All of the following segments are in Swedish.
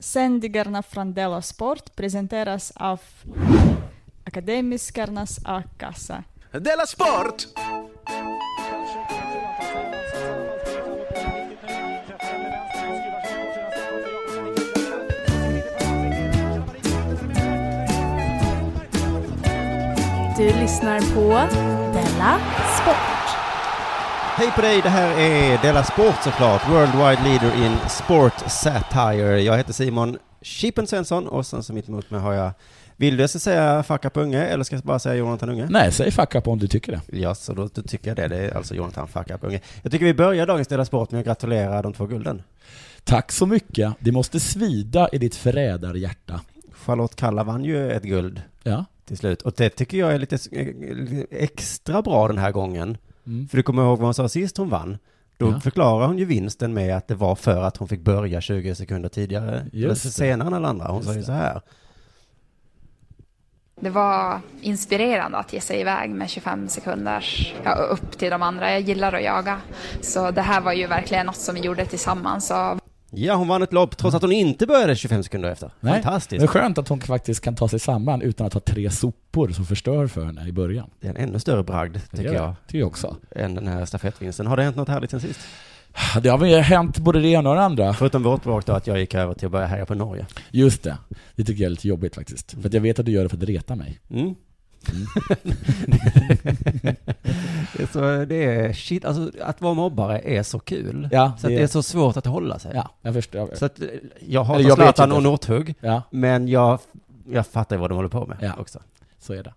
Sändningarna från Della Sport presenteras av Akademiskarnas A-kassa. Della Sport! Du lyssnar på Della Sport. Hej på dig, det här är Della Sport såklart, worldwide leader in sport satire. Jag heter Simon Chippen Svensson och sen så mitt emot mig har jag, vill du jag ska säga fuck up unge eller ska jag bara säga Jonathan Unge? Nej, säg fuck up om du tycker det. Ja, så då, då tycker jag det. Det är alltså Jonathan fuck up unge. Jag tycker vi börjar dagens Della Sport med att gratulera de två gulden. Tack så mycket. Det måste svida i ditt förrädarhjärta. Charlotte Kalla vann ju ett guld Ja. till slut och det tycker jag är lite s- extra bra den här gången. För du kommer ihåg vad hon sa sist hon vann? Då Mm. Ja. förklarar hon ju vinsten med att det var för att hon fick börja 20 sekunder tidigare. Just eller det. senare än alla andra. Hon sa ju så här. Det var inspirerande att ge sig iväg med 25 sekunder ja, upp till de andra. Jag gillar att jaga. Så det här var ju verkligen något som vi gjorde tillsammans. Och Ja, hon vann ett lopp trots att hon inte började 25 sekunder efter. Mm. Nej, Fantastiskt. Det är skönt att hon faktiskt kan ta sig samman utan att ha tre sopor som förstör för henne i början. Det är en ännu större bragd, tycker jag, Tycker jag också. än den här stafettvinsten. Har det hänt något härligt sen sist? Det har väl hänt både det ena och det andra. Förutom vårt bråk då, att jag gick över till att börja heja på Norge. Just det. Det tycker jag är lite jobbigt faktiskt. För att jag vet att du gör det för att reta mig. Mm. det är så, det är shit, alltså att vara mobbare är så kul. Ja, så att det- det är så svårt att hålla sig. Ja, jag förstår. Så att eh, jag Eller hatar jag vet Zlatan inte. och Northug, Ja, men jag, jag fattar ju vad de håller på med Ja. också. så är det.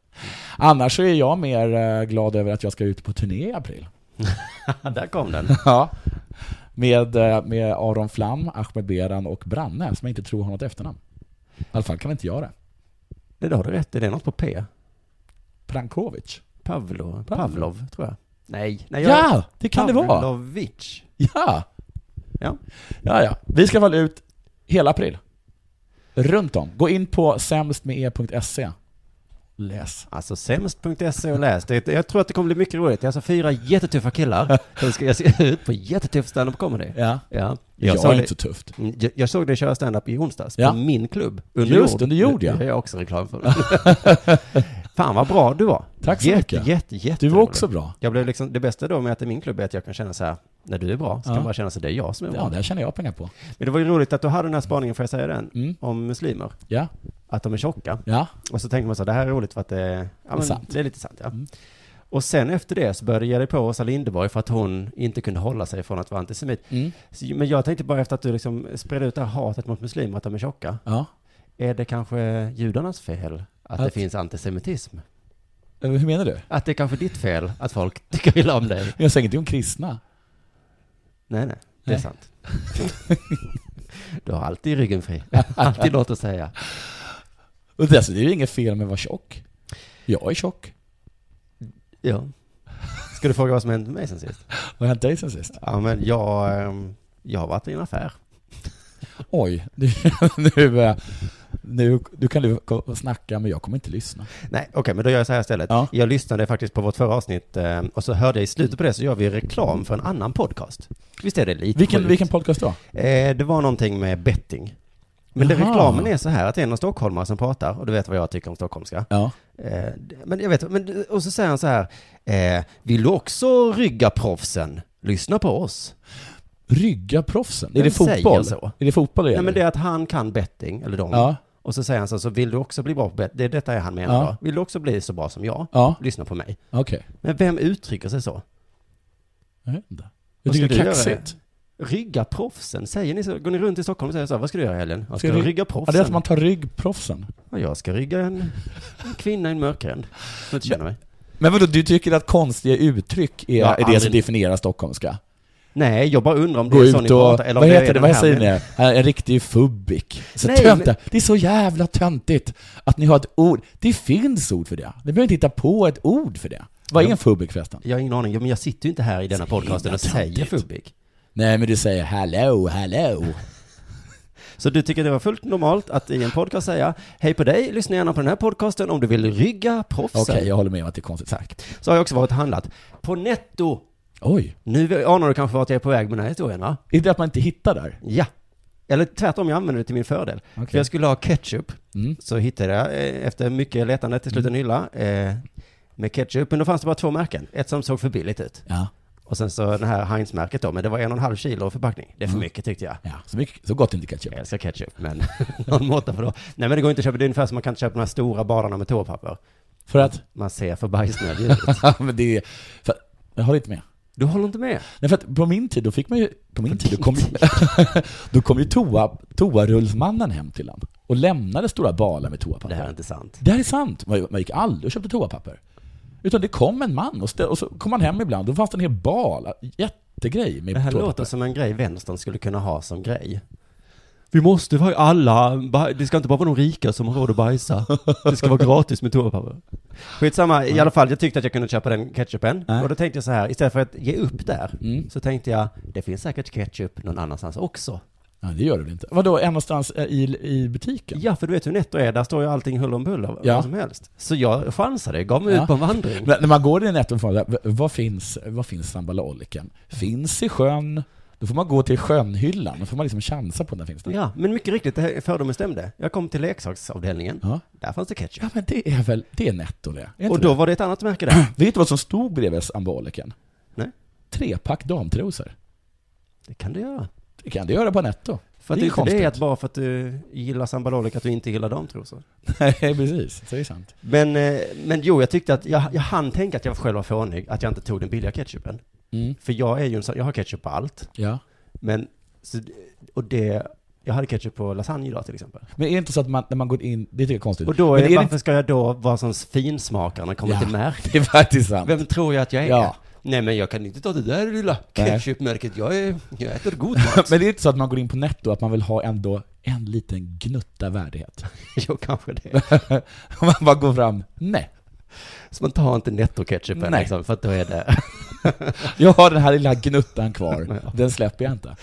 Annars så är jag mer eh, glad över att jag ska ut på turné i april. Där kom den. Ja. Med, eh, med Aron Flam, Ahmed Beran och Branne, som jag inte tror har något efternamn. I alla fall kan väl inte jag det. Det där har du rätt i, det är något på P. Prankovic. Pavlov, Pavlov. Pavlov tror jag. Nej, nej jag... Ja, det kan det vara. Pavlovic. Ja. Ja. ja, ja. Vi ska vara ut hela april. Runt om. Gå in på sämstmed.se. Läs. Alltså sämst.se och läs. Det, jag tror att det kommer bli mycket roligt. Det är alltså fyra jättetuffa killar som ska ge sig ut på jättetuff stand-up comedy. Ja. Ja. Jag, såg är det- inte så tufft. Mm, jag- jag såg dig köra stand-up i onsdags Ja. på min klubb, Under Just, jord. Under jord, ja. Det är jag också reklam för. Fan vad bra du var. Tack så jätte, mycket. Jätte, jätte, Du var också bra. Jag blev liksom, det bästa då med att det är min klubb är att jag kan känna så här, när du är bra, så kan Ja. jag bara känna så här, det är jag som är bra. Ja, det här känner jag pengar på. Men det var ju roligt att du hade den här spaningen, får jag säga den, Mm. om muslimer. Ja, Att de är tjocka. ja. Och så tänker man så här, det här är roligt för att det, ja, men, sant. det är lite sant. Ja. Mm. Och sen efter det så började jag ge dig på Åsa Linderborg för att hon inte kunde hålla sig från att vara antisemit. Mm. Så, men jag tänkte bara efter att du liksom spred ut det här hatet mot muslimer, att de är tjocka. ja. Är det kanske judarnas fel att, det Att- finns antisemitism? Eh, Hur menar du? Att det är kanske ditt fel att folk tycker illa om dig? Jag säger ingenting om kristna. Nej, nej, det är Nej. sant. du har alltid ryggen fri. Alltid något att säga. Och dessutom är alltså, det ju inget fel med att vara tjock. Jag är tjock. Ja. Ska du fråga vad som hänt med mig sen sist? Vad har hänt dig sen sist? Ja, men jag, ehm, jag har varit i en affär. Oj, nu, nu, eh, nu, nu kan du ko- snacka men jag kommer inte lyssna. Nej, okej, men då gör jag så här istället. Ja. Jag lyssnade faktiskt på vårt förra avsnitt eh, och så hörde jag i slutet på det så gör vi reklam för en annan podcast. Visst är det lite Vilken, sjukt? vilken podcast då? eh, Det var någonting med betting. Men det Jaha. reklamen är så här att det är någon stockholmare som pratar, och du vet vad jag tycker om stockholmska. Ja. Eh, men jag vet, men, och så säger han så här, eh, vill du också rygga proffsen? Lyssna på oss. Rygga proffsen? Är Vem det säger fotboll? så? Är det fotboll det Nej men gäller? det är att han kan betting, eller de. Ja. Och så säger han så, så vill du också bli bra på betting? Det är detta han menar Ja. då. Vill du också bli så bra som jag? Ja. Lyssna på mig. Okej. Men vem uttrycker sig så? Jag vet inte. Jag Vad tycker det ska är du göra? kaxigt. Rygga proffsen, säger ni så? Går ni runt i Stockholm och säger så här, vad ska du göra i helgen? Jag ska, Ska du- rygga Ja, proffsen. det är att man tar rygg proffsen. Ja, Jag ska rygga en en kvinna i en mörkgränd. Som inte känner mig. Men vadå, du tycker att konstiga uttryck är, Jag har är det som aldrig- definierar stockholmska? Nej, jag bara undrar om det Gå är så ni ut och, pratar. Eller om vad är heter det, den vad här säger med- ni? Han är En riktig fubbik. Så Nej, tönta. Det är så jävla töntigt att ni har ett ord. Det finns ord för det. Ni behöver inte hitta på ett ord för det. Vad är en fubbik förresten? Jag har ingen aning. Jo, men jag sitter ju inte här i denna podcasten och säger fubbik. Nej, men du säger hallå, hallå. Så du tycker det var fullt normalt att i en podcast säga hej på dig, lyssna gärna på den här podcasten om du vill rygga proffsen. Okej, jag håller med om att det är konstigt. Så har jag också varit och handlat. På netto. Oj. Nu anar du kanske vart jag är på väg med den här historien va? Är det att man inte hittar där? Ja. Eller tvärtom, jag använder det till min fördel. Okej. För jag skulle ha ketchup. Mm. Så hittade jag eh, efter mycket letande till slut en hylla eh, med ketchup. Men då fanns det bara två märken. Ett som såg för billigt ut. Ja. Och sen så det här Heinz-märket då. Men det var en och en halv kilo förpackning. Mm. Det är för mycket tyckte jag. ja. Så, mycket, så gott inte ketchup. Jag älskar ketchup, men någon måtta för då. Nej men det går inte att köpa, det är ungefär som man kan inte köpa de här stora badarna med toapapper. För att? Man ser för bajsnödig ut. men det är, för, jag håller inte med. Du håller inte med? Nej, för att på min tid, då fick man ju... På min tid, då kom ju, då kom ju toa, toarullsmannen hem till en och lämnade stora balar med toapapper. Det här är inte sant. Det här är sant. Man, man gick aldrig och köpte toapapper. Utan det kom en man och, stä- och så kom han hem ibland. Då fanns det en hel bal, jättegrej med Det här toapapper. låter som en grej vänstern skulle kunna ha som grej. Vi måste ha alla, baj- det ska inte bara vara de rika som har råd att bajsa. Det ska vara gratis med toapapper. Skitsamma, i alla fall, jag tyckte att jag kunde köpa den ketchupen. Nej. Och då tänkte jag så här, istället för att ge upp där, Mm. så tänkte jag, det finns säkert ketchup någon annanstans också. Ja, det gör det väl inte? Vadå, någonstans eh, i, i butiken? Ja, för du vet hur Netto är, där står ju allting huller om buller, Ja. vad som helst. Så jag chansade, gav mig Ja. ut på en vandring. Men när man går i nätet och frågar "V- vad finns, vad finns sambaloliken? Finns i sjön? Då får man gå till sjönhyllan, då får man liksom chansa på om den finns där. Ja, men mycket riktigt, det här fördomen stämde. Jag kom till leksaksavdelningen, Ja. där fanns det ketchup. Ja, men det är väl, det är netto det. Är inte Och då det? var det ett annat märke där. Vet du vad som stod bredvid sambaloliken? Nej. Trepack damtrosor. Det kan du göra. Det kan du göra på netto. För att det är det, inte konstigt. det är att bara för att du gillar sambalolic att du inte gillar damtrosor. Nej, precis. Så det är sant. Men, eh, men jo, jag tyckte att jag, jag hann tänka att jag själv var fånig, att jag inte tog den billiga ketchupen. Mm. För jag är ju en sån, jag har ketchup på allt. Ja. Men, så, och det, jag hade ketchup på lasagne idag till exempel. Men är det inte så att man, när man går in, det tycker jag är konstigt. Och då, men är, det varför inte- ska jag då vara sån finsmakare när det kommer Ja. till märken? Det är faktiskt sant. Vem tror jag att jag är? Ja. Nej men jag kan inte ta det där lilla Nej. ketchupmärket, jag, är, jag äter god mat. Men det är inte så att man går in på netto att man vill ha ändå en liten gnutta värdighet. jo, kanske det. man bara går fram, nej. Så man tar inte netto-ketchupen Nej. liksom, för att då är det... Jag har den här lilla gnuttan kvar, den släpper jag inte.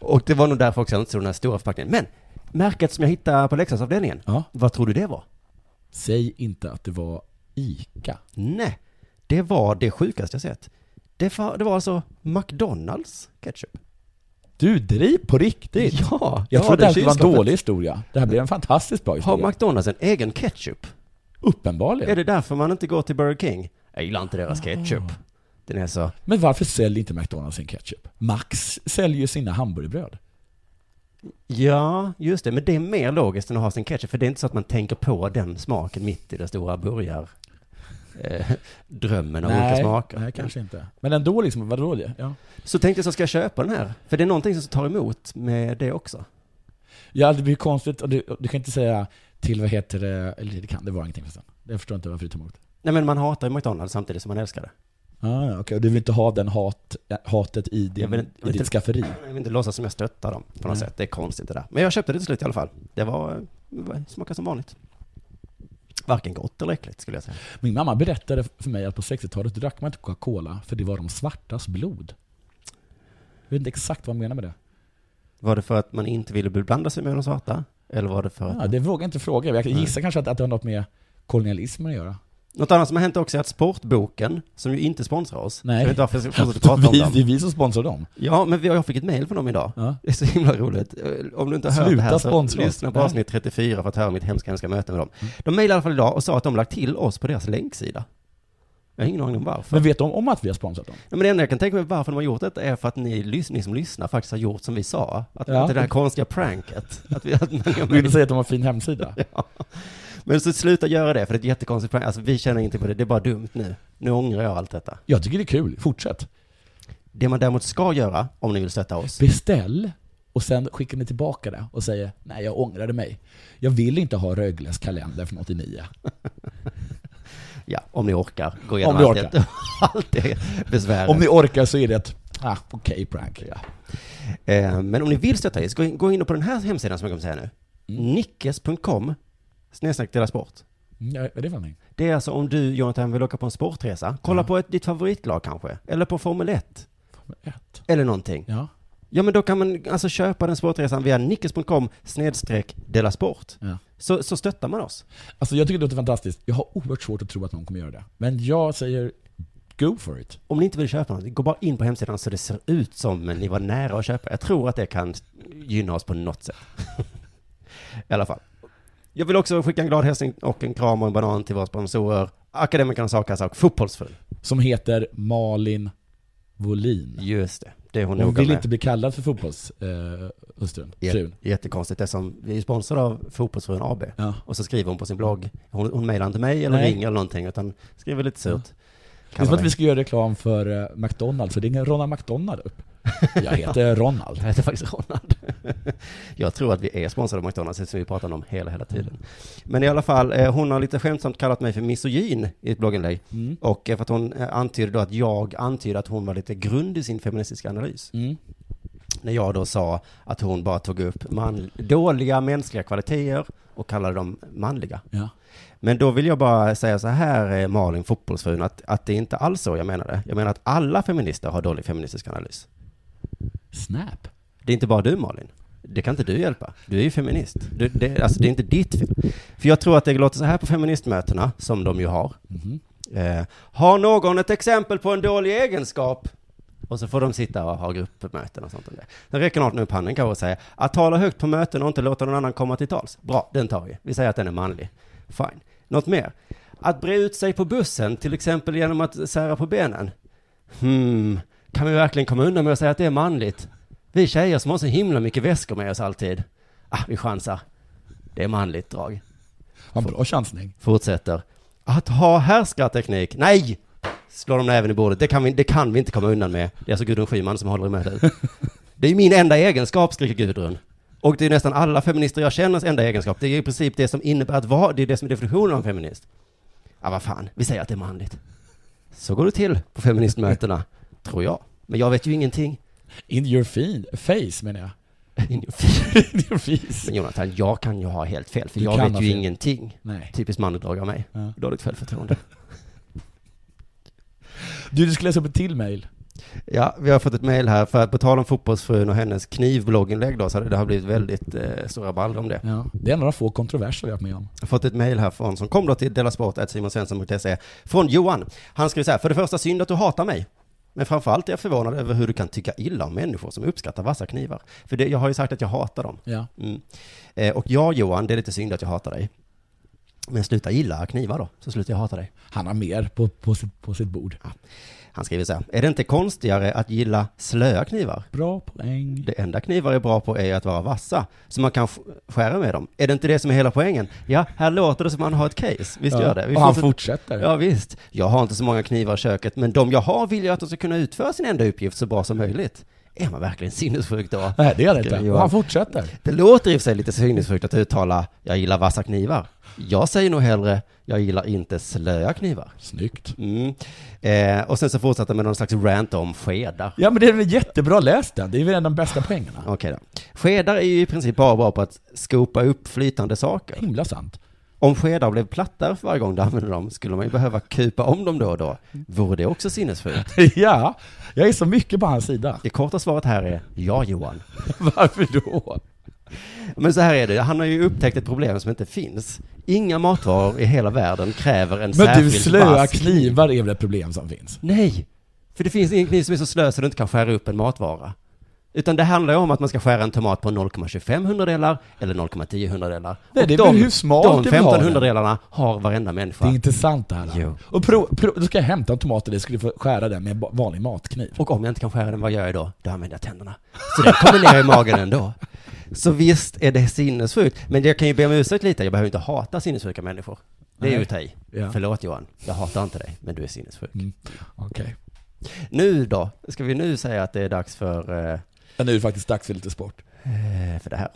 Och det var nog därför också jag inte såg den här stora förpackningen. Men märket som jag hittade på leksaksavdelningen, Ja. vad tror du det var? Säg inte att det var ICA. Nej, det var det sjukaste jag sett. Det var, det var alltså McDonalds ketchup. Du, driv på riktigt! Ja, jag ja, trodde det här det skulle vara en kylskåpet. dålig historia. Det här blev en fantastiskt bra Har historia. McDonalds en egen ketchup? Uppenbarligen. Är det därför man inte går till Burger King? Jag gillar inte deras ketchup. Den är så, Men varför säljer inte McDonalds sin ketchup? Max säljer ju sina hamburgerbröd. ja, just det, men det är mer logiskt än att ha sin ketchup, för det är inte så att man tänker på den smaken mitt i den stora burgar... Eh, drömmen av olika smaker. nej, kanske inte. Men ändå liksom, vadå det? Ja. Så tänkte jag så ska jag köpa den här? För det är någonting som tar emot med det också. Ja, det blir konstigt. Och du, och du kan inte säga till vad heter det, eller det kan det vara ingenting förresten. Jag förstår inte varför du tar emot. Nej men man hatar ju McDonalds samtidigt som man älskar det. Ah, ja, okej. Och du vill inte ha den hat, hatet i, din, Jag vill inte- jag i vill ditt inte- skafferi? Mm. Jag vill inte låtsas som jag stöttar dem på något Nej. sätt. Det är konstigt det där. Men jag köpte det till slut i alla fall. Det var, eh, smakade som vanligt. Varken gott eller äckligt skulle jag säga. Min mamma berättade för mig att på 60-talet drack man inte Coca-Cola för det var de svartas blod. Jag vet inte exakt vad hon menar med det. Var det för att man inte ville beblanda sig med de svarta? Eller var det för att... Ah, det vågar jag inte fråga. Jag gissar kanske att, att det har något med kolonialismen att göra. Något annat som har hänt också är att Sportboken, som ju inte sponsrar oss. Nej. Jag vet inte varför jag fortsätter prata om vi, det är dem. vi som sponsrar dem. Ja, men vi- jag fick ett mail från dem idag. Ja. Det är så himla roligt. Eh, Om du inte har hört det Sluta här så sponsra oss. Mm. lyssna på Nej. avsnitt 34 för att höra mitt hemska, hemska möte med dem. De mejlade i alla fall idag och sa att de lagt till oss på deras länksida. Jag har ingen aning om varför. Men vet de om att vi har sponsrat dem? Nej, men det enda jag kan tänka mig varför de har gjort detta är för att ni, lys- ni som lyssnar faktiskt har gjort som vi sa. Att, Ja. att det här konstiga pranket. Att vi, att man, Vill du säga att de har en fin hemsida? men så sluta göra det, för det är ett jättekonstigt prank. Alltså vi känner ingenting på det, det är bara dumt nu. Nu ångrar jag allt detta. Jag tycker det är kul, fortsätt. Det man däremot ska göra, om ni vill stötta oss, Beställ och sen skickar ni tillbaka det och säger nej jag ångrade mig. Jag vill inte ha Rögles kalender från 89. ja, om ni orkar, gå igenom Om ni allt orkar. det- allt det besväret. Om ni orkar så är det ett ah, okej prank. Ja. Eh, men om ni vill stötta oss, gå in, gå in på den här hemsidan som jag kommer säga nu. Nickes.com snedstreck dela sport. Ja, är det vad Det är alltså om du, Jonathan, vill åka på en sportresa. Kolla på ett, ditt favoritlag kanske. Eller på Formel 1. Ett. Eller någonting. Ja. Ja. men då kan man alltså köpa den sportresan via nickes.com snedstreck dela sport. ja. Så, så stöttar man oss. Alltså jag tycker det låter fantastiskt. Jag har oerhört svårt att tro att någon kommer göra det. Men jag säger go for it. Om ni inte vill köpa något, gå bara in på hemsidan så det ser ut som ni var nära att köpa. Jag tror att det kan gynna oss på något sätt. I alla fall. Jag vill också skicka en glad hälsning och en kram och en banan till våra sponsorer. Akademikernas A-kassa och Fotbollsfull. Som heter Malin Wollin. Just det, det är hon, Hon noga vill med. inte bli kallad för fotbollshustrun. Eh, hustrun. Frun. Jätte, jättekonstigt eftersom vi är sponsrade av Fotbollsfrun AB. Ja. Och så skriver hon på sin blogg, hon, hon mejlar inte mig eller Nej. ringer eller någonting utan skriver lite surt. Det är som att vi ska göra reklam för eh, McDonalds, så ringer Ronald McDonald upp. Jag heter Ronald. Jag heter faktiskt Ronald. Jag tror att vi är sponsrade av McDonalds eftersom vi pratar om hela, hela tiden. Men i alla fall, eh, hon har lite skämtsamt kallat mig för misogyn i ett blogginlägg. Och eh, för att hon eh, antydde då att jag antydde att hon var lite grund i sin feministiska analys. Mm. När jag då sa att hon bara tog upp man, dåliga mänskliga kvaliteter och kallade dem manliga. Ja. Men då vill jag bara säga så här, eh, Malin, fotbollsfrun, att, att det är inte alls så jag menade. Jag menar att alla feminister har dålig feministisk analys. Snap. Det är inte bara du, Malin. Det kan inte du hjälpa. Du är ju feminist. Du, det, alltså, det är inte ditt fel. För jag tror att det låter så här på feministmötena, som de ju har. Eh, har någon ett exempel på en dålig egenskap? Och så får de sitta och ha gruppmöten och sånt. Om det. Sen räcker någon upp handen kanske och säga att tala högt på möten och inte låta någon annan komma till tals. Bra, den tar vi. Vi säger att den är manlig. Fine. Något mer? Att bre ut sig på bussen, till exempel genom att sära på benen. Hmm, kan vi verkligen komma undan med att säga att det är manligt? Vi tjejer som har så himla mycket väskor med oss alltid. Ah, vi chansar. Det är manligt drag. Vad en bra chansning. Fortsätter. Att ha härskarteknik? Nej! Slår de näven i bordet. Det kan, vi, det kan vi inte komma undan med. Det är alltså Gudrun Schyman som håller i mötet. Det är min enda egenskap, skriker Gudrun. Och det är nästan alla feminister jag känner enda egenskap. Det är i princip det som innebär att vara, det är det som är definitionen av en feminist. Ja, vad fan, vi säger att det är manligt. Så går det till på feministmötena, tror jag. Men jag vet ju ingenting. In your fin- face menar jag. In your face. In your face. Men Jonathan, jag kan ju ha helt fel, för Du jag kan vet ha ju fel. ingenting. Nej. Typiskt manligt drag av mig. Ja. Dåligt självförtroende. Du, du ska läsa upp ett till mail. Ja, vi har fått ett mejl här, för att på tal om fotbollsfrun och hennes knivblogginlägg då, så hade det har blivit väldigt eh, stora rabalder om det. Ja. Det är en av de få kontroverser vi har varit med om. Jag har fått ett mejl här från, som kom då till delasport.simonsvensson.se, från Johan. Han skriver så här, för det första synd att du hatar mig. Men framförallt är jag förvånad över hur du kan tycka illa om människor som uppskattar vassa knivar. För det, jag har ju sagt att jag hatar dem. Ja. Mm. Eh, och jag Johan, det är lite synd att jag hatar dig. Men sluta gilla knivar då, så slutar jag hata dig. Han har mer på, på, sitt, på sitt bord. Han skriver så här, är det inte konstigare att gilla slöa knivar? Bra poäng. Det enda knivar är bra på är att vara vassa, så man kan sk- skära med dem. Är det inte det som är hela poängen? Ja, här låter det som att man har ett case. Visst Ja, gör det? och han fortsätter- fortsätter. Ja, visst. Jag har inte så många knivar i köket, men de jag har vill jag att de ska kunna utföra sin enda uppgift så bra som möjligt. Är man verkligen sinnessjuk då? Nej, det är det inte. Skriver Och han Johan. fortsätter. Det låter i och för sig lite sinnessjukt att uttala ”jag gillar vassa knivar”. Jag säger nog hellre ”jag gillar inte slöa knivar”. Snyggt. Mm. Eh, och sen så fortsätter med någon slags rant om skedar. Ja men det är väl jättebra läst den. Det är väl en av de bästa poängerna. Okej då. Skedar är ju i princip bara bra på att skopa upp flytande saker. Himla sant. Om skedar blev plattare för varje gång du använde dem skulle man ju behöva kupa om dem då och då. Vore det också sinnesfullt? ja, jag är så mycket på hans sida. Det korta svaret här är ja, Johan. Varför då? Men så här är det, han har ju upptäckt ett problem som inte finns. Inga matvaror i hela världen kräver en Men du, särskild slöa vass- knivar är väl ett problem som finns? Nej! För det finns ingen kniv som är så slö så du inte kan skära upp en matvara. Utan det handlar ju om att man ska skära en tomat på 0,25 hundradelar eller 0,10 hundradelar. Nej, Och det är väl hur smalt de du vill ha 15 den. hundradelarna har varenda Det människa. är intressant det här. Jo. Och prov, prov, då ska jag hämta en tomat och det skulle få skära den med en ba- vanlig matkniv. Och om jag inte kan skära den, vad gör jag då? Då använder jag tänderna. Så den kommer ner i magen ändå. Så visst är det sinnessjukt. Men jag kan ju be om ursäkt lite, jag behöver inte hata sinnessjuka människor. Det är ju att ta i. Ja. Förlåt Johan, jag hatar inte dig, men du är sinnessjuk. Mm. Okej. Nu då? Ska vi nu säga att det är dags för, eh, Ja, Nu är det faktiskt dags för lite sport. eh, för det här?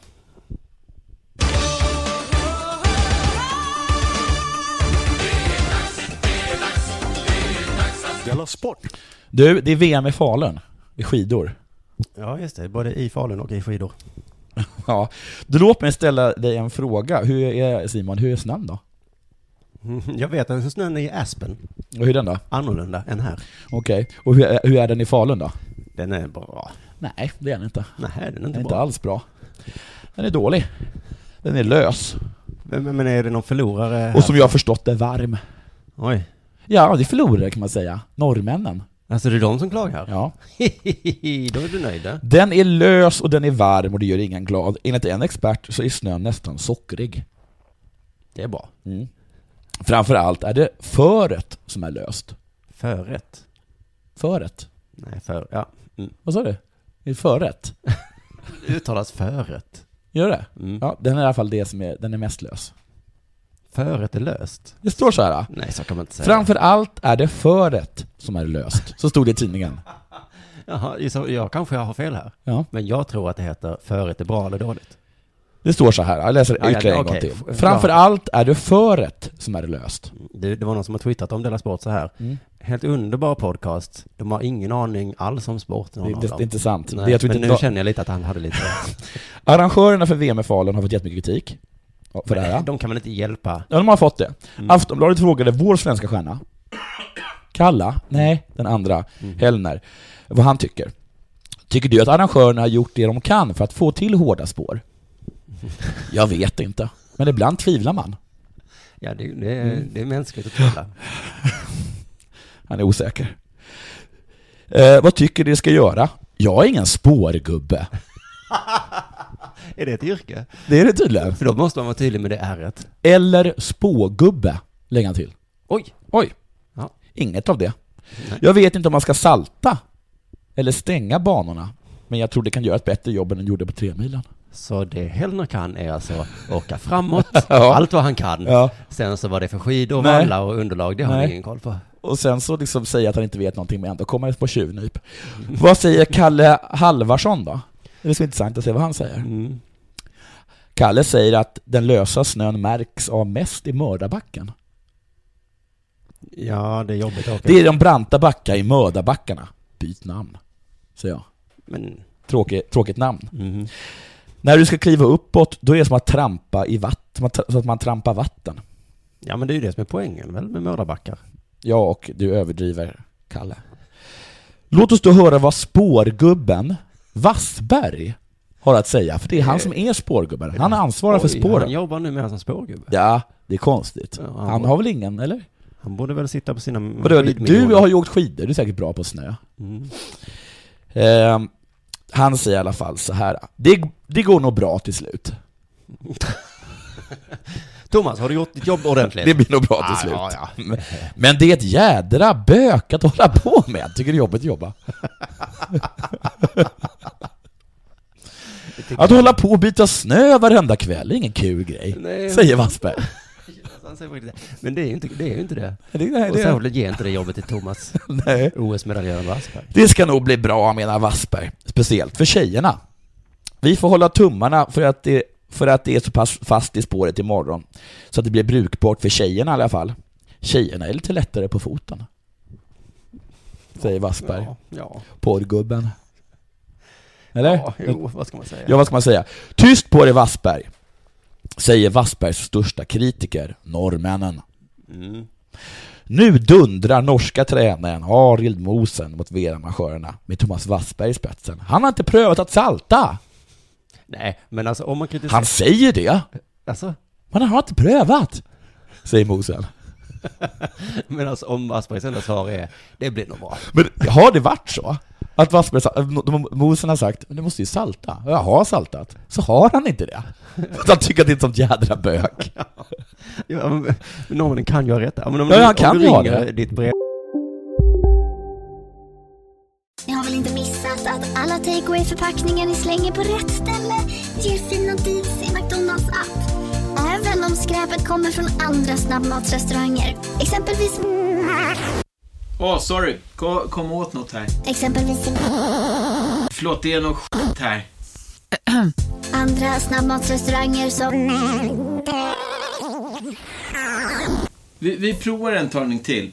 Della Sport. Du, det är VM i Falun. I skidor. Ja, just det. Både i Falun och i skidor. Ja. Du låt mig ställa dig en fråga. Hur är, Simon, hur är snön då? Jag vet att snön är i Aspen Och hur är den då? annorlunda än här. Okej. Och hur är, hur är den i Falun då? Den är bra. Nej, det är den inte. Nej, den är inte Den är bra. inte alls bra. Den är dålig. Den är lös. Men, men är det någon förlorare här? Och som jag har förstått är varm. Oj. Ja, det är förlorare kan man säga. Norrmännen. Alltså det är de som klagar? Ja. Då är du nöjd. eh? Den är lös och den är varm och det gör ingen glad. Enligt en expert så är snön nästan sockrig. Det är bra. Mm. Framförallt är det föret som är löst. Förrätt? Föret? Nej, för... Ja. Mm. Vad sa du? Är det förrätt? Uttalas förrätt. Gör det? Mm. Ja, den är i alla fall det som är, den är mest lös. Förrätt är löst. Det står så här. Nej, så kan man inte säga. Framförallt är det föret som är löst. Så stod det i tidningen. Jaha, så jag kanske har fel här. Ja. Men jag tror att det heter förrätt är bra eller dåligt. Det står så här, jag läser Ja, ja, ytterligare en okej. gång till. Framförallt är det föret som är löst. Det, det var någon som har twittrat om Della Sport så här. Mm. Helt underbar podcast. De har ingen aning alls om sport. någon Det, av det, det dem. är inte sant. Nej, det, jag tror men inte, nu de- känner jag lite att han hade lite... Arrangörerna för VM i Falun har fått jättemycket kritik. Ja, För det här. De kan väl inte hjälpa? Ja, de har fått det. Aftonbladet frågade vår svenska stjärna, Kalla, nej, den andra, Hellner, vad han tycker. Tycker du att arrangörerna har gjort det de kan för att få till hårda spår? Jag vet inte, men ibland tvivlar man. Ja, det, det, är- det är mänskligt att tvivla. Han är osäker. Eh, vad tycker du ska göra? Jag är ingen spårgubbe. Är det ett yrke? Det är det tydligen. För då måste man vara tydlig med det ärret. Eller spågubbe, lägger han till. Oj! Oj. Ja. Inget av det. Jag vet inte om man ska salta eller stänga banorna, men jag tror det kan göra ett bättre jobb än den gjorde på tremilen. Så det Hellner kan är alltså åka framåt, Ja. allt vad han kan. Ja. Sen så var det för skidor, Nej. vallar och underlag, det har Nej. han ingen koll på. Och sen så liksom säga att han inte vet någonting, men ändå kommer han på tjuvnyp. Vad säger Kalle Halvarsson då? Det är så intressant att se vad han säger. Kalle säger att den lösa snön märks av mest i Mördarbacken. Ja, det är jobbigt att åka. Det är de branta backar i Mördarbackarna. Byt namn, säger jag. Men, Tråkigt, tråkigt namn. När du ska kliva uppåt, då är det som att trampa i vatten, så att man trampar vatten. ja, men det är ju det som är poängen väl med mördarbackar. Ja, och du överdriver, Kalle. Låt oss då höra vad spårgubben Wassberg har att säga, för det är han som är spårgubben. Han ansvarar för Oj, Han spåren. jobbar nu mer som spårgubbe. Ja, det är konstigt. Ja, han- Han har väl ingen, eller? Han borde väl sitta på sina Vadå, du skidmiljoner. har ju åkt skidor, du är säkert bra på snö. Mm. Ehm, han säger i alla fall så här. Det, det går nog bra till slut. Thomas, har du gjort ditt jobb ordentligt? Det blir nog bra till Ja, slut. ja, Men- Men det är ett jädra bök att hålla på med. Tycker det är jobbigt att jobba. Att hålla på och byta snö varenda kväll, det är ingen kul grej. Nej. Säger Wassberg. Han säger faktiskt det. Men det är ju inte det. Är ju inte det. Det, nej, Och det, särskilt ge inte det jobbet till Thomas, nej. OS-medaljören Wassberg. det ska nog bli bra menar Wassberg. Speciellt för tjejerna. Vi får hålla tummarna för att det, för att det är så pass fast i spåret imorgon. Så att det blir brukbart för tjejerna i alla fall. Tjejerna är lite lättare på foten. Säger Wassberg. ja. porrgubben. Eller? Ja, jo, vad ska man säga? Ja, vad ska man säga? Tyst på dig Wassberg! Säger Wassbergs största kritiker, norrmännen. Mm. Nu dundrar norska tränaren Arild Mosen mot VM-arrangörerna med Thomas Wassberg i spetsen. Han har inte prövat att salta! Nej, men alltså om man kritiserar... Han säger det, Alltså, men han har inte prövat! Säger Mosen. men alltså om Wassbergs enda svar är det blir nog bra. Men har det varit så? Att Wassberg, sa- de- Mosen har sagt men du måste ju salta. Jag har saltat. Så har han inte det. För att han tycker att det är ett sånt jädra bök. Ja, men norrmännen kan ju ha rätt där. Men om Ja, du, han om kan du ju ha ringer det. ditt brev... Ni har väl inte missat att alla takeaway förpackningar ni slänger på rätt ställe ger fina deals i McDonalds app. Även om skräpet kommer från andra snabbmatsrestauranger. Exempelvis... Åh, sorry. Kom, kom åt något här. Exempelvis... Förlåt, det är något skit här. Andra snabbmatsrestauranger som... Vi, vi provar en talning till.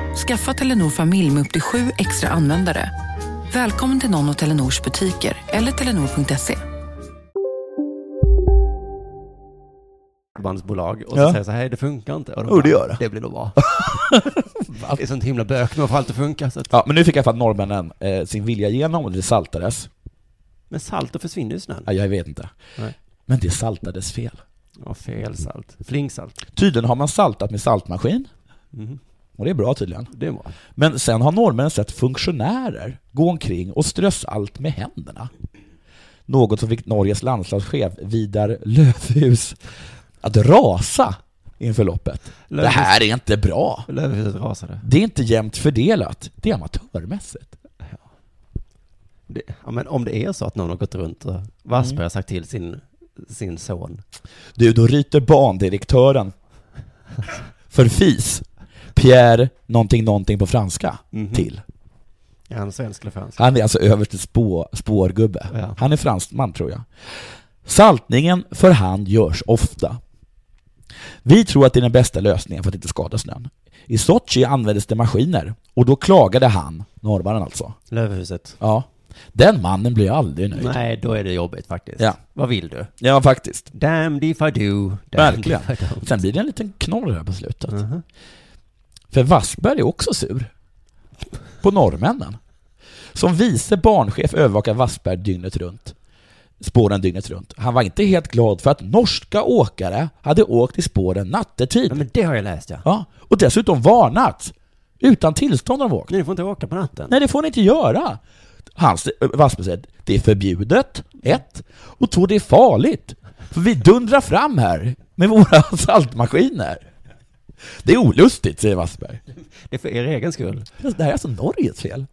Skaffa Telenor familj med upp till sju extra användare. Välkommen till någon av Telenors butiker eller telenor.se. bandsbolag och så Ja. säger så här, "Hej, det funkar inte. Och de Jo, det gör det. Det blir nog bra. det är sånt himla bök med att få allt att funka. Så att, Ja, men nu fick i alla fall norrmännen eh, sin vilja igenom och det saltades. Men salt och försvinner ju snön. Ja, jag vet inte. Nej. Men det saltades fel. Ja, fel salt. Flingsalt. Tydligen har man saltat med saltmaskin. Mhm. Och det är bra tydligen. Det är bra. Men sen har norrmännen sett funktionärer gå omkring och strö salt med händerna. Något som fick Norges landslagschef Vidar Löfhus att rasa inför loppet. Det Löfhus- här är inte bra. Lövhuset rasade. Det är inte jämnt fördelat. Det är amatörmässigt. Det, ja, men om det är så att någon har gått runt och Wassberg Mm. har sagt till sin, sin son. Du, då ryter bandirektören för fis Pierre någonting någonting på franska Mhm. till. Är han svensk eller fransk? Han är alltså överste spå, spårgubbe. Ja. Han är fransman tror jag. Saltningen för hand görs ofta. Vi tror att det är den bästa lösningen för att inte skada snön. I Sochi användes det maskiner och då klagade han, norrmannen alltså. Lövhuset. Ja. Den mannen blir aldrig nöjd. Nej, då är det jobbigt faktiskt. Ja. Vad vill du? Ja, faktiskt. Damned if I do. damned Verkligen. if I don't. Sen blir det en liten knorr här på slutet. Mhm. För Wassberg är också sur. På norrmännen. Som vice barnchef övervakar Wassberg dygnet runt. Spåren dygnet runt. Han var inte helt glad för att norska åkare hade åkt i spåren Ja, nattetid. men det har jag läst ja. Ja, och dessutom varnat. Utan tillstånd har de åkt. Ni får inte åka på natten. Nej, det får ni inte göra. Hans, eh, Wassberg säger det är förbjudet, ett. Och två, det är farligt. För vi dundrar fram här med våra saltmaskiner. Det är olustigt, säger Wassberg. Det är för er egen skull. Det här är alltså Norges fel.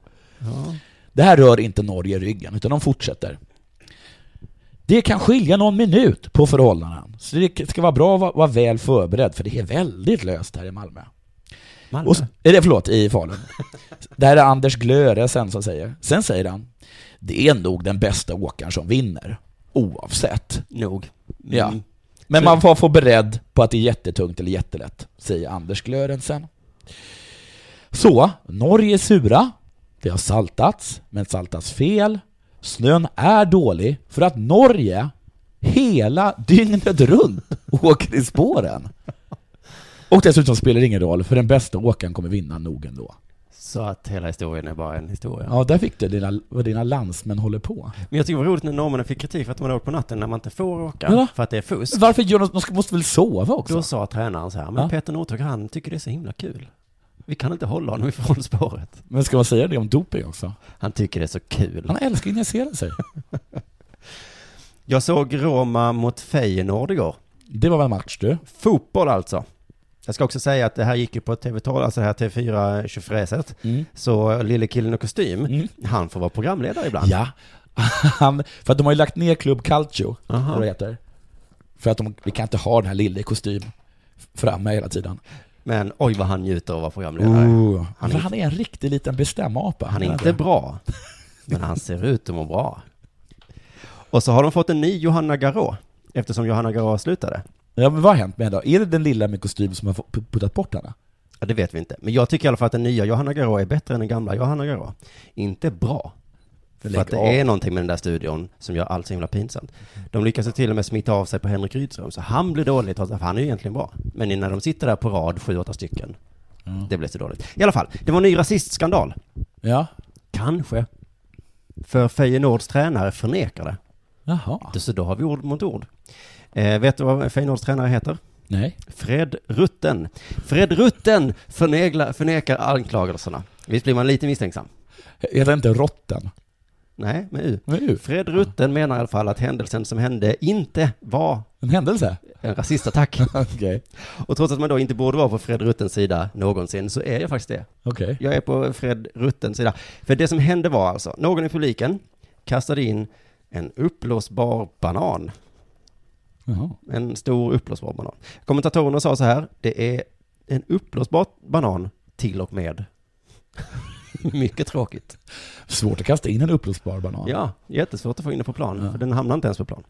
Det här rör inte Norge i ryggen, utan de fortsätter. Det kan skilja någon minut på förhållanden, så det ska vara bra att vara- vara väl förberedd, för det är väldigt löst här i Malmö. Malmö. Och, s- är det, förlåt, i Falun. Det här är Anders Glöre sen som säger. Sen säger han, det är nog den bästa åkaren som vinner, oavsett. Nog. Ja. Mm. Men man får vara beredd på att det är jättetungt eller jättelätt, säger Anders Glörensen. Så, Norge är sura. Det har saltats, men saltats fel. Snön är dålig för att Norge hela dygnet runt åker i spåren. Och dessutom spelar det ingen roll, för den bästa åkaren kommer vinna nog ändå. Så att hela historien är bara en historia. Ja, där fick du dina, vad dina landsmän håller på. Men jag tycker det var roligt när norrmännen fick kritik för att man åker på natten när man inte får åka. Ja. För att det är fusk. Varför gör de, de ska- måste väl sova också? Då sa tränaren så här, men Ja. Peter Northug han tycker det är så himla kul. Vi kan inte hålla honom ifrån spåret. Men ska man säga det om doping också? Han tycker det är så kul. Han älskar att injicera sig. Jag såg Roma mot Feyenoord igår. Det var väl en match du? Fotboll alltså. Jag ska också säga att det här gick ju på TV12, alltså det här TV4 tjofräset. Mm. Så lille killen och kostym, Mm. han får vara programledare ibland. Ja. Han, för att de har ju lagt ner Club Calcio, Aha. vad det heter. För att de, vi kan inte ha den här lille i kostym framme hela tiden. Men oj vad han njuter av att vara programledare. Oh. Han Han, är- är, han är en riktig liten bestämapa. Han är inte bra, men han ser ut att må bra. Och så har de fått en ny Johanna Garå, eftersom Johanna Garå slutade. Ja, men vad har hänt med henne då? Är det den lilla med kostym som har få- puttat bort henne? Ja, det vet vi inte. Men jag tycker i alla fall att den nya Johanna Garå är bättre än den gamla Johanna Garå. Inte bra. För Lägg att det av. är någonting med den där studion som gör allt så himla pinsamt. De lyckas ju till och med smitta av sig på Henrik Rydström, så han blir dålig trots att han är ju egentligen bra. Men när de sitter där på rad, sju, åtta stycken, Mm. det blir så dåligt. I alla fall, det var en ny rasistskandal. Ja. Kanske. För Feyenoords tränare förnekar det. Jaha. Så då har vi ord mot ord. Eh, vet du vad Feyenoords tränare heter? Nej. Fred Rutten. Fred Rutten förnegla, förnekar anklagelserna. Visst blir man lite misstänksam? Heter inte Rotten? Nej, med U. Vad är det? Fred Rutten menar i alla fall att händelsen som hände inte var En händelse? en rasistattack. Okej. Och trots att man då inte borde vara på Fred Ruttens sida någonsin så är jag faktiskt det. Okej. Jag är på Fred Ruttens sida. För det som hände var alltså, någon i publiken kastade in en uppblåsbar banan. Jaha. En stor uppblåsbar banan. Kommentatorerna sa så här, det är en uppblåsbar banan till och med. Mycket tråkigt. Svårt att kasta in en uppblåsbar banan. Ja, jättesvårt att få in den på plan, för den hamnar inte ens på plan.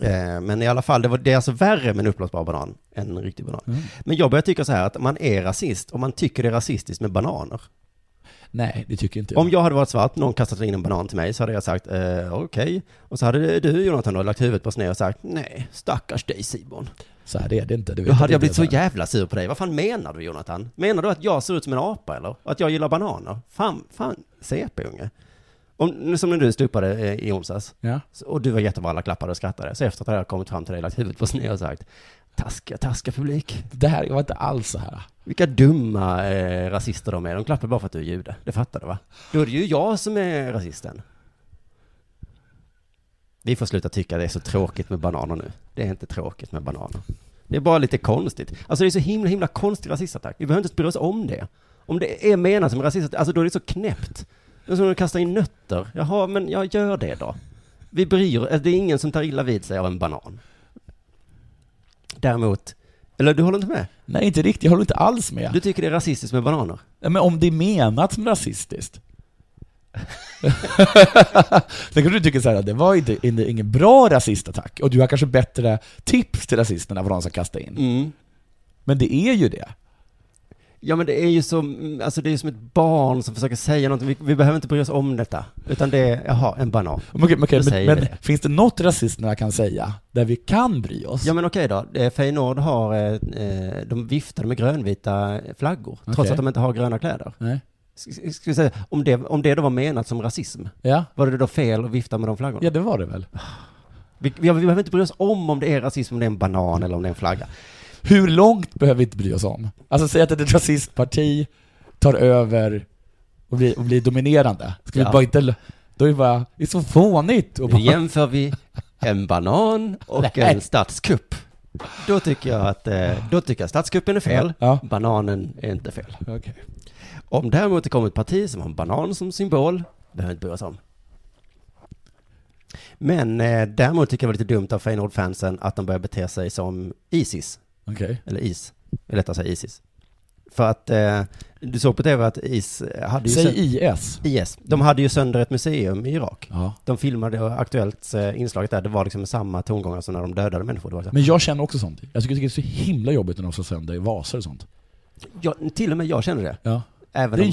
Eh, Men i alla fall, det, var, det är alltså värre med en uppblåsbar banan än en riktig banan. Men jag börjar tycka så här att man är rasist om man tycker det är rasistiskt med bananer. Nej, det tycker inte jag. Om jag hade varit svart, någon kastat in en banan till mig, så hade jag sagt eh, okej. Och så hade du Jonathan då lagt huvudet på sned och sagt nej, stackars dig Simon. Så här är det inte. Du vet Då hade att jag det blivit är så här. jävla sur på dig. Vad fan menar du Jonathan? Menar du att jag ser ut som en apa eller? Och Att jag gillar bananer? Fan, fan, CP-unge. Om, som när du stupade eh, i onsdags. Ja. Så- Och du var jättevarlig, klappade och skrattade. Så efteråt hade jag kommit fram till dig, lagt huvudet på sned och sagt taskiga, taskiga publik. Det här, jag var inte alls så här. Vilka dumma eh, rasister de är. De klappar bara för att du är jude. Det fattar du va? Då är det ju jag som är rasisten. Vi får sluta tycka det är så tråkigt med bananer nu. Det är inte tråkigt med bananer. Det är bara lite konstigt. Alltså det är så himla, himla konstig rasistattack. Vi behöver inte ens bry oss om det. Om det är menat som rasist, alltså då är det så knäppt. Det är som att kasta in nötter. Jaha, men jag gör det då. Vi bryr alltså det är ingen som tar illa vid sig av en banan. Däremot, eller du håller inte med? Nej, inte riktigt. Jag håller inte alls med. Du tycker det är rasistiskt med bananer? Nej, Men om det är menat som rasistiskt. Sen kanske du tycker så här, att det var inte, inte, ingen bra rasistattack, och du har kanske bättre tips till rasisterna vad de ska kasta in. Mm. Men det är ju det. Ja men det är ju som, alltså det är ju som ett barn som försöker säga någonting, vi, vi behöver inte bry oss om detta. Utan det är, jaha, en banan. Men okej, men okej, Då men, säger vi men det. finns det något rasisterna kan säga där vi kan bry oss? Ja men okej då, Eh, Feyenoord har, eh, eh, de viftade med grönvita flaggor, trots Okej. att de inte har gröna kläder. Nej. S- Ska vi säga, om det, om det då var menat som rasism, Ja? var det då fel att vifta med de flaggorna? ja, det var det väl. Vi, vi, vi behöver inte bry oss om om det är rasism, om det är en banan eller om det är en flagga. Hur långt behöver vi inte bry oss om? Alltså säg att ett rasistparti tar över och blir, och blir dominerande. Ska Ja. vi bara inte... Då är det bara... Det är så fånigt. Och Nu bara, jämför vi en banan och Nej. en statskupp. Då tycker jag att, eh, då tycker jag statskuppen är fel, Ja. bananen är inte fel. Okej. Om däremot det kommer ett parti som har en banan som symbol, behöver inte bry oss om. Men eh, däremot tycker jag det var lite dumt av Feyenoord-fansen att de börjar bete sig som Isis, Okej. eller Is, det är lättare att säga Isis. För att eh, du såg på tv att Is hade ju sö- Säg IS. IS, de hade ju sönder ett museum i Irak. Ja. De filmade och Aktuellt eh, inslaget där, det var liksom samma tongångar som när de dödade människor. Det var så här, Men jag känner också sånt. Jag tycker det är så himla jobbigt när de slår sönder vaser och sånt. jag, till och med jag kände det. Ja. Det Även är en om,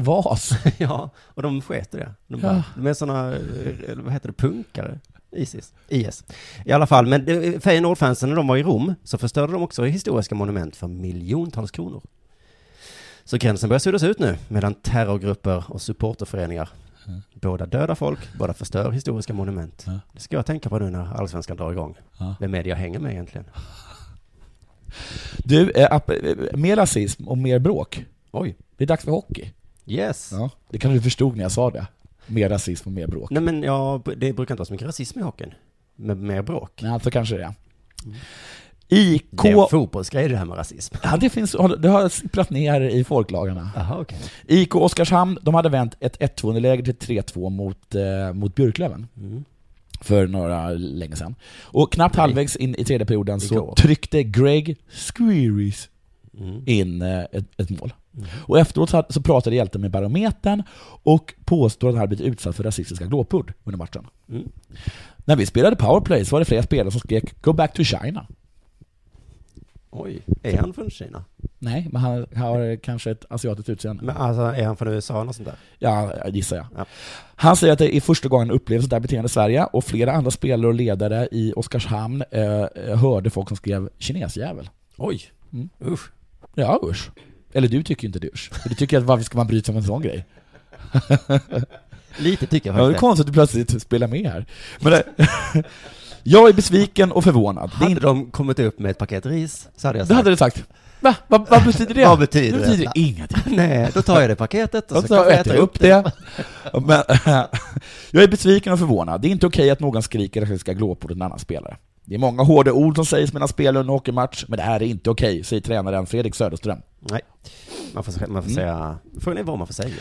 vas. ja, och de sket i det. De, Ja. bara, de är sådana, vad heter det, punkare? Isis? IS. I alla fall, men det- Feyenoord-fansen när de var i Rom så förstörde de också historiska monument för miljontals kronor. Så gränsen börjar suddas ut nu mellan terrorgrupper och supporterföreningar. Båda dödar folk, båda förstör historiska monument. Mm. Ja. Det ska jag tänka på nu när allsvenskan drar igång. Ja. Vem är det jag hänger med egentligen? Du, eh, app- eh, mer rasism och mer bråk. Oj. Det är dags för hockey. Yes. Det kanske du förstod när jag sa det. Mer rasism och mer bråk. Nej men ja, det brukar inte vara så mycket rasism i hockeyn. Men mer bråk. Nej, så alltså, kanske det är. IK... Det är en fotbollsgrej det här med rasism. Ja, det, finns, det har sipprat ner i folklagarna. Jaha, okej. IK Oskarshamn, de hade vänt ett 1-2-underläge till 3-2 mot, eh, mot Björklöven. Mm. För några länge sedan. Och knappt halvvägs in i tredje perioden så Igår. tryckte Greg Squeeries in eh, ett, ett mål. Och efteråt så, hade- så pratade hjälten med Barometern och påstod att han hade blivit utsatt för rasistiska glåpord under matchen. När vi spelade powerplay så var det flera spelare som skrek 'Go back to China' Oj, är han från Kina? Nej, men han har kanske ett asiatiskt utseende. Men alltså, är han från USA eller något sånt där? Ja, gissar jag. Ja. Han säger att det är första gången han upplever sådant här beteende i Sverige och flera andra spelare och ledare i Oskarshamn eh, hörde folk som skrev ”kinesjävel”. Oj, Mm. usch. Ja, usch. Eller du tycker ju inte det usch. För Du tycker att varför ska man bry sig om en sån grej? Lite tycker jag Ja, det är faktiskt. konstigt att du plötsligt spelar med här. Men det, jag är besviken och förvånad. Det, är Hade inte, de kommit upp med ett paket ris så hade jag det sagt hade du sagt. Va? Va, vad betyder det? Vad betyder det? betyder det? ingenting. nej, då tar jag det paketet och så, Och så kan jag äter äta jag upp det. Men, jag är besviken och förvånad. Det är inte okej att någon skriker att vi ska glå på en annan spelare. Det är många hårda ord som sägs mellan spel och en hockeymatch, men det här är inte okej, säger tränaren Fredrik Söderström. Nej, man får, man får säga, frågan är vad man får säga.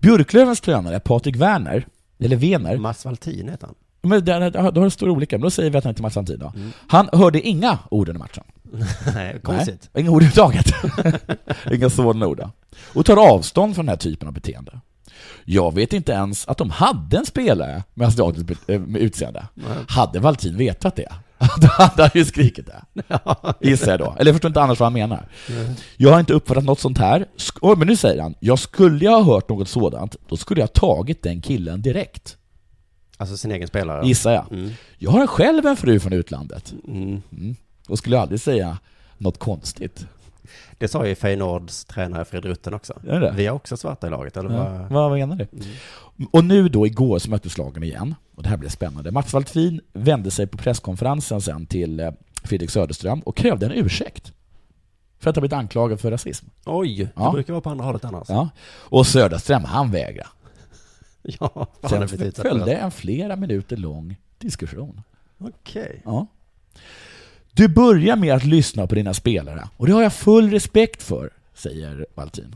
Björklövens tränare Patrik Werner, eller Wener, Mats Valtin heter han. men där, där, då står det olika, men då säger vi att han inte matchar tid då. Han hörde inga ord under matchen. Nej, konstigt. Nej, inga ord överhuvudtaget. inga sådana ord. då. Och tar avstånd från den här typen av beteende. Jag vet inte ens att de hade en spelare med asiatiskt be- eh, med utseende. Hade Valtin vetat det? Då hade han ju skrikit det. Gissar jag då. Eller jag förstår inte annars vad han menar. Jag har inte uppfattat något sånt här. Sk- Åh, men nu säger han, jag skulle jag ha hört något sådant, då skulle jag ha tagit den killen direkt. Alltså sin egen spelare. Gissar jag. Mm. Jag har själv en fru från utlandet. Mm. Och skulle aldrig säga något konstigt. Det sa ju Feyenoords tränare Fred Rutten också. Är det? Vi har också svarta i laget, eller Ja, vad? vad menar du? Eh, Mm. Och nu då igår så möttes lagen igen. Och det här blev spännande. Mats Valtin vände sig på presskonferensen sen till eh, Fredrik Söderström och krävde en ursäkt. För att ha blivit anklagad för rasism. Oj, Ja. det brukar vara på andra hållet annars. Ja. Och Söderström, han vägrade. Ja, fan, det Sen betyder att- följde en flera minuter lång diskussion. Okej. Ja. Du börjar med att lyssna på dina spelare och det har jag full respekt för, säger Valtin.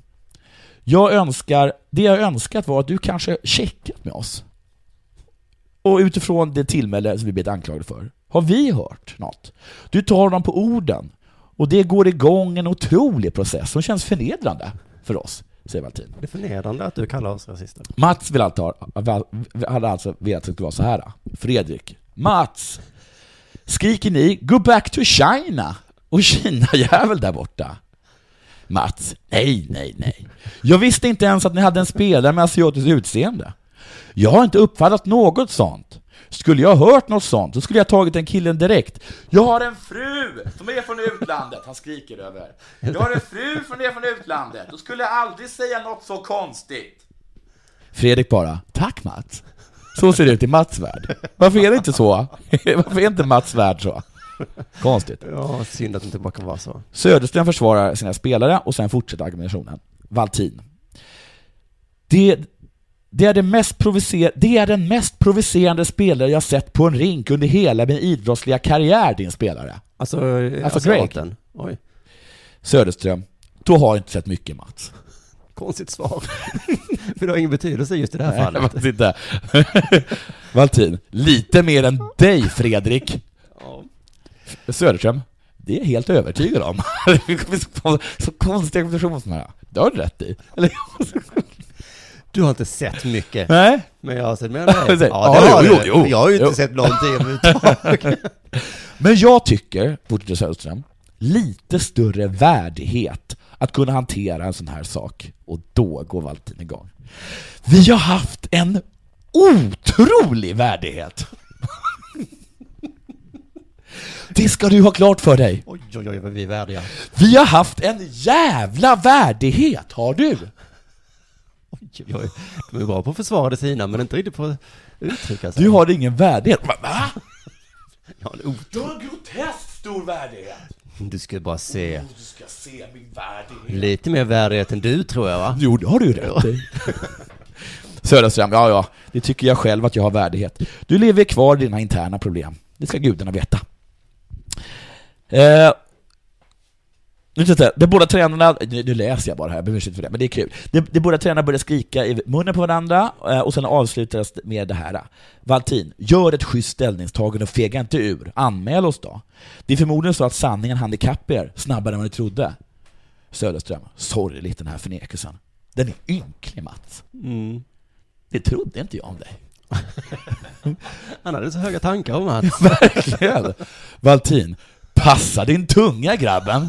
Jag önskar, det jag önskat var att du kanske checkat med oss. Och utifrån det tillmäle som vi blivit anklagade för, har vi hört något? Du tar dem på orden och det går igång en otrolig process som känns förnedrande för oss, säger Valtin. Det är förnedrande att du kallar oss rasister. Mats vill alltid ha, väl- hade alltså velat att det skulle vara så här. Fredrik. Mats! Skriker ni 'Go back to China' och Kina-jävel där borta? Mats. Nej, nej, nej. Jag visste inte ens att ni hade en spelare med asiatiskt utseende. Jag har inte uppfattat något sånt. Skulle jag ha hört något sånt, så skulle jag ha tagit den killen direkt. Jag har en fru som är från utlandet, han skriker över. Jag har en fru som är från utlandet, då skulle jag aldrig säga något så konstigt. Fredrik bara, tack Mats. Så ser det ut i Mats värld. Varför är det inte så? Varför är inte Mats värld så? Konstigt. Ja, synd att det inte bara kan vara så. Söderström försvarar sina spelare och sen fortsätter argumentationen. Valtin. Det, det, är det, mest provocer- det är den mest provocerande spelare jag sett på en rink under hela min idrottsliga karriär, din spelare. Alltså, Alltså, asiaten. Oj, Söderström. Du har inte sett mycket Mats. konstigt svar. För det har ingen betydelse just i det här fallet. Faktiskt inte. Valtin. Lite mer än dig Fredrik. Söderström. Det är jag helt övertygad om. Det kommer så konstiga konversationer som här. Det har du rätt i. Eller? Du har inte sett mycket. Nej. Men jag har sett mer än dig. Jag säger, det ja, har jo, du. jo, jo. Jag har ju inte Jo. sett någonting överhuvudtaget. Men jag tycker, fortsätter Söderström, lite större värdighet att kunna hantera en sån här sak. Och då går Valtin igång. Vi har haft en otrolig värdighet! Det ska du ha klart för dig. Oj, oj, oj, vad vi är värdiga. Vi har haft en jävla värdighet, har du! Oj, oj, oj. De är bra på att försvara det sina, men inte riktigt på att uttrycka sig. Du har ingen värdighet. Va? Va? Ja, en ot- Du har en groteskt stor värdighet! du ska bara se. Du ska se min värdighet. Lite mer värdighet än du, tror jag, va? Jo, det har du ju rätt i. Söderström, ja ja, det tycker jag själv att jag har värdighet. Du lever kvar i dina interna problem. Det ska gudarna veta. Eh, nu ska jag säga, de båda tränarna, nu, nu läser jag bara här, jag ber om ursäkt för det, men det är kul. De, de båda tränarna börjar skrika i munnen på varandra eh, och sen avslutas det med det här. Valtin, gör ett schysst ställningstagande och fega inte ur. Anmäl oss då. Det är förmodligen så att sanningen hann ikapp er snabbare än vad ni trodde. Söderström, sorgligt den här förnekelsen. Den är ynklig Mats. Mm. Det trodde inte jag om dig. Han hade så höga tankar om att Verkligen! Valtin, passa din tunga grabben.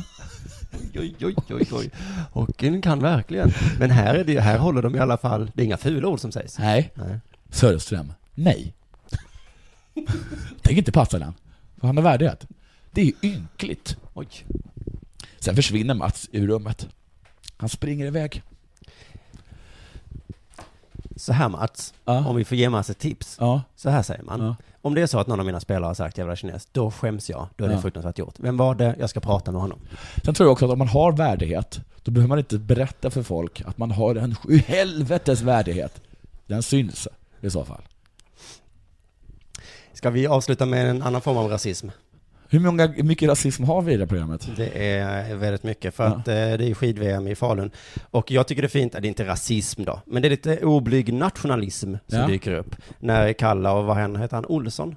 Oj, oj, oj, oj. Hockeyn kan verkligen. Men här, är det, här håller de i alla fall, det är inga fula ord som sägs. Nej. Nej. Söderström. Nej. Tänk inte passa den. För han har värdighet. Det är ju ynkligt. Oj. Sen försvinner Mats ur rummet. Han springer iväg. Så här Mats, Ja. om vi får ge Mats ett tips. Ja. Så här säger man. Ja. Om det är så att någon av mina spelare har sagt jävla kines, då skäms jag. Då är det Ja. fruktansvärt gjort. Vem var det? Jag ska prata med honom. Sen tror jag också att om man har värdighet, då behöver man inte berätta för folk att man har en sju helvetes värdighet. Den syns i så fall. Ska vi avsluta med en annan form av rasism? Hur många, hur mycket rasism har vi i det här programmet? Det är väldigt mycket för Ja. att eh, det är skid-VM i Falun. Och jag tycker det är fint, det är inte rasism då, men det är lite oblyg nationalism som Ja. dyker upp. När Kalla och vad han heter han, Olsson?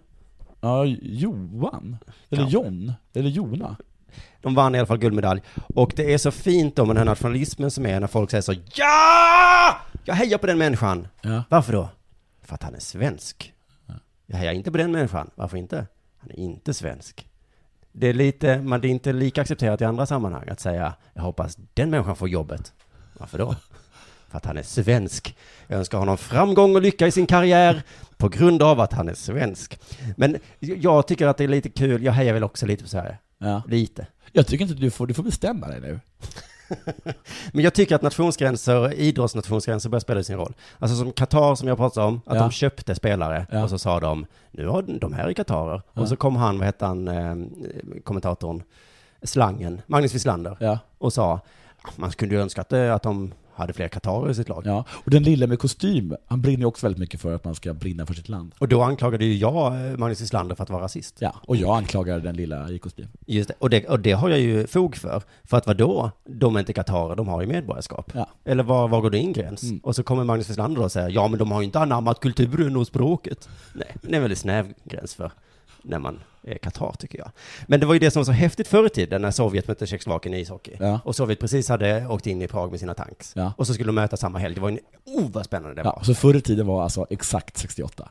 Ja, Johan? Eller Ja. John? Eller Jona? De vann i alla fall guldmedalj. Och det är så fint då med den här nationalismen som är när folk säger så ja! Jag hejar på den människan. Ja. Varför då? För att han är svensk. Jag hejar inte på den människan. Varför inte? Han är inte svensk. Det är lite, men det är inte lika accepterat i andra sammanhang att säga jag hoppas den människan får jobbet. Varför då? För att han är svensk. Jag önskar honom framgång och lycka i sin karriär på grund av att han är svensk. Men jag tycker att det är lite kul, jag hejar väl också lite på Sverige. Ja. Lite. Jag tycker inte att du får, du får bestämma dig nu. Men jag tycker att nationsgränser, idrottsnationsgränser börjar spela sin roll. Alltså som Qatar som jag pratade om, att Ja. de köpte spelare Ja. och så sa de, nu har de här är Qatarer. Och så kom han, vad hette han, eh, kommentatorn, slangen, Magnus Wislander, Ja. och sa, man kunde ju önska att, eh, att de hade fler Qatarer i sitt lag. Ja. Och den lilla med kostym, han brinner ju också väldigt mycket för att man ska brinna för sitt land. Och då anklagade ju jag eh, Magnus Wislander för att vara rasist. Ja, och jag anklagar den lilla i kostym. Just det. Och, det, och det har jag ju fog för. För att vadå? De är inte Qatarer, de har ju medborgarskap. Ja. Mm. Eller var, var går din gräns? Och så kommer Magnus Wislander och säger, ja men de har ju inte anammat kulturen och språket. Nej, men det är en väldigt snäv gräns för när man är Qatar tycker jag. Men det var ju det som var så häftigt förr i tiden när Sovjet mötte Tjeckoslovakien i ishockey. Ja. Och Sovjet precis hade åkt in i Prag med sina tanks. Ja. Och så skulle de möta samma helg. Det var ju en, oh vad spännande det var. Ja, så förr i tiden var alltså exakt 68.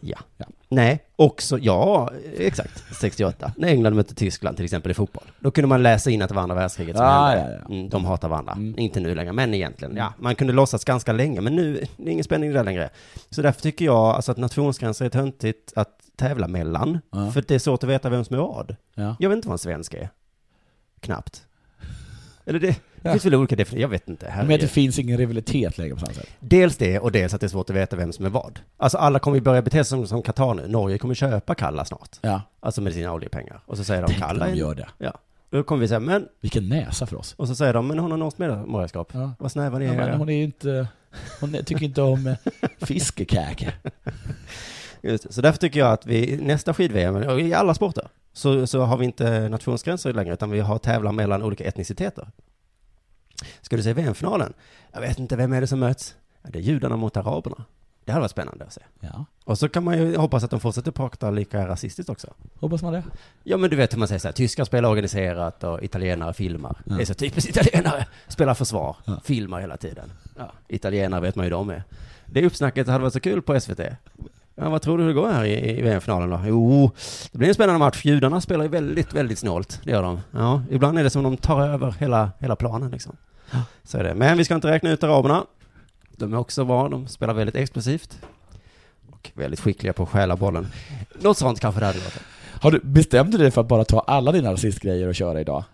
Ja. Ja. Nej, också, ja, exakt, 68. När England mötte Tyskland till exempel i fotboll. Då kunde man läsa in att det var andra världskriget som Ja, hände. Ah, ja, Mm, de hatar varandra. Inte nu längre, men egentligen. Ja, man kunde låtsas ganska länge, men nu, det är ingen spänning där längre. Så därför tycker jag alltså, att nationsgränser är töntigt att tävla mellan. Ja. För det är svårt att veta vem som är vad. Ja. Jag vet inte vad en svensk är. Knappt. Eller det, det Ja. finns väl olika definitioner, jag vet inte. Här Men är att ju- det finns ingen rivalitet längre på samma sätt. Dels det och dels att det är svårt att veta vem som är vad. Alltså alla kommer ju börja bete sig som, som Qatar nu. Norge kommer köpa Kalla snart. Ja. Alltså med sina oljepengar. Och så säger de Tänk Kalla. när är de en- gör det. Ja. Då kommer vi säga men, Vilken näsa för oss. och så säger de men hon har norskt medborgarskap. Ja. Vad snäva ni Ja, är. men hon är ju inte... Hon är- tycker inte om eh, fiskekäke. Just det. Så därför tycker jag att vi nästa skid-VM, och i alla sporter, så, så har vi inte nationsgränser längre utan vi har tävlar mellan olika etniciteter. Ska du se VM-finalen? Jag vet inte, vem är det som möts? Ja, det är judarna mot araberna. Det här var spännande att se. Ja, Och så kan man ju hoppas att de fortsätter prata lika rasistiskt också. hoppas man det. Ja men du vet hur man säger så här, tyskar spelar organiserat och italienare filmar. Det är så typiskt italienare, spelar försvar, filmar hela tiden. Ja, italienare vet man ju de är. Det uppsnacket hade varit så kul på SVT. Ja, vad tror du hur det går här i, i VM-finalen då? Jo, det blir en spännande match. Judarna spelar ju väldigt, väldigt snålt. Det gör de. Ja, ibland är det som de tar över hela, hela planen liksom. Så är det. Men vi ska inte räkna ut araberna. De är också bra. De spelar väldigt explosivt. Och väldigt skickliga på att stjäla bollen. Något sånt kanske det hade varit. Har du, bestämde du dig för att bara ta alla dina rasistgrejer och köra idag?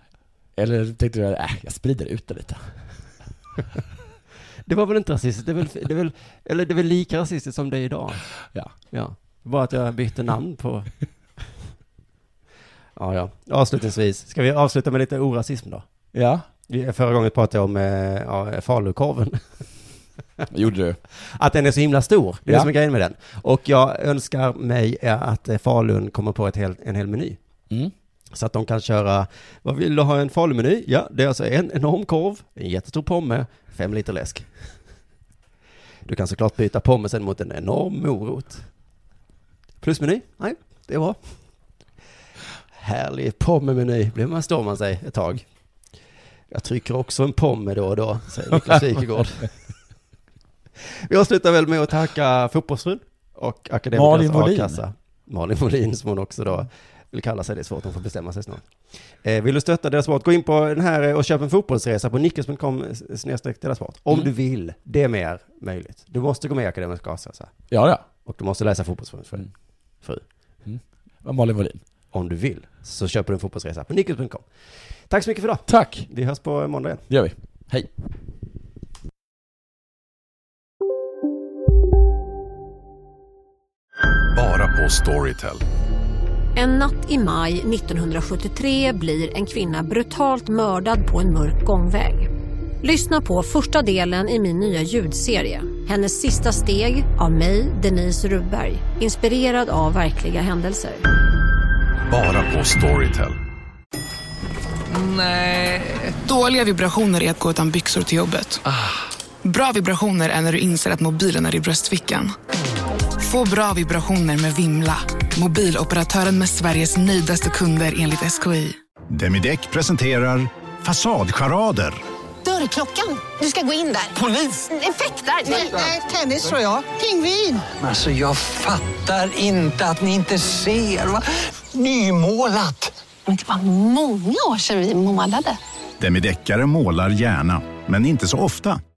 Eller tänkte du att äh, jag sprider ut det lite? Det var väl inte rasistiskt, det är väl, det är väl, eller det är väl lika rasistiskt som det är idag. Ja. Ja. Bara att jag bytte namn på... Ja, ja. Avslutningsvis, ska vi avsluta med lite orasism då? Ja, Vi- Förra gången pratade jag om eh, ja, falukorven. gjorde du. Att den är så himla stor, det är Ja. det som är grejen med den. Och jag önskar mig eh, att eh, Falun kommer på ett hel, en hel meny. Mm. Så att de kan köra, vad vill du ha en falumeny? Ja, det är alltså en enorm korv, en jättestor pomme, fem liter läsk. Du kan såklart byta pommesen mot en enorm morot. Plusmeny? Nej, det är bra. Härlig pommemeny, blir man står man sig ett tag. Jag trycker också en pomme då och då, säger Niklas Wikegård. Vi avslutar väl med att tacka fotbollsfrun och Akademikernas Malin Molin. A-kassa. Malin Molin som hon också då vill kalla sig, det är svårt, de får bestämma sig snart. Eh, vill du stötta Dela Sport, gå in på den här eh, och köp en fotbollsresa på nickels.com eh, snedstreck Dela Sport. Mm. Om du vill, det är mer möjligt. Du måste gå med i Akademisk A-kassa Ja, ja. och du måste läsa fotbollsförbundet för Mm. fru. Vad Malin Wallin. Om du vill så köper du en fotbollsresa på nickels.com. Tack så mycket för idag. Tack, Vi hörs på måndag igen. det gör vi. Hej. Bara på Storytel. En natt i maj 1973 blir en kvinna brutalt mördad på en mörk gångväg. Lyssna på första delen i min nya ljudserie. Hennes sista steg av mig, Denise Rubberg. Inspirerad av verkliga händelser. Bara på Storytel. Nej. Dåliga vibrationer är att gå utan byxor till jobbet. Bra vibrationer är när du inser att mobilen är i bröstfickan. Få bra vibrationer med Vimla. Mobiloperatören med Sveriges nöjdaste kunder enligt SKI. Demideck presenterar Fasadcharader. Dörrklockan. Du ska gå in där. Polis? Effektar? Nej, tennis tror jag. Pingvin. Alltså jag fattar inte att ni inte ser. Va? Nymålat! Men det var många år sedan vi målade. Demideckare målar gärna, men inte så ofta.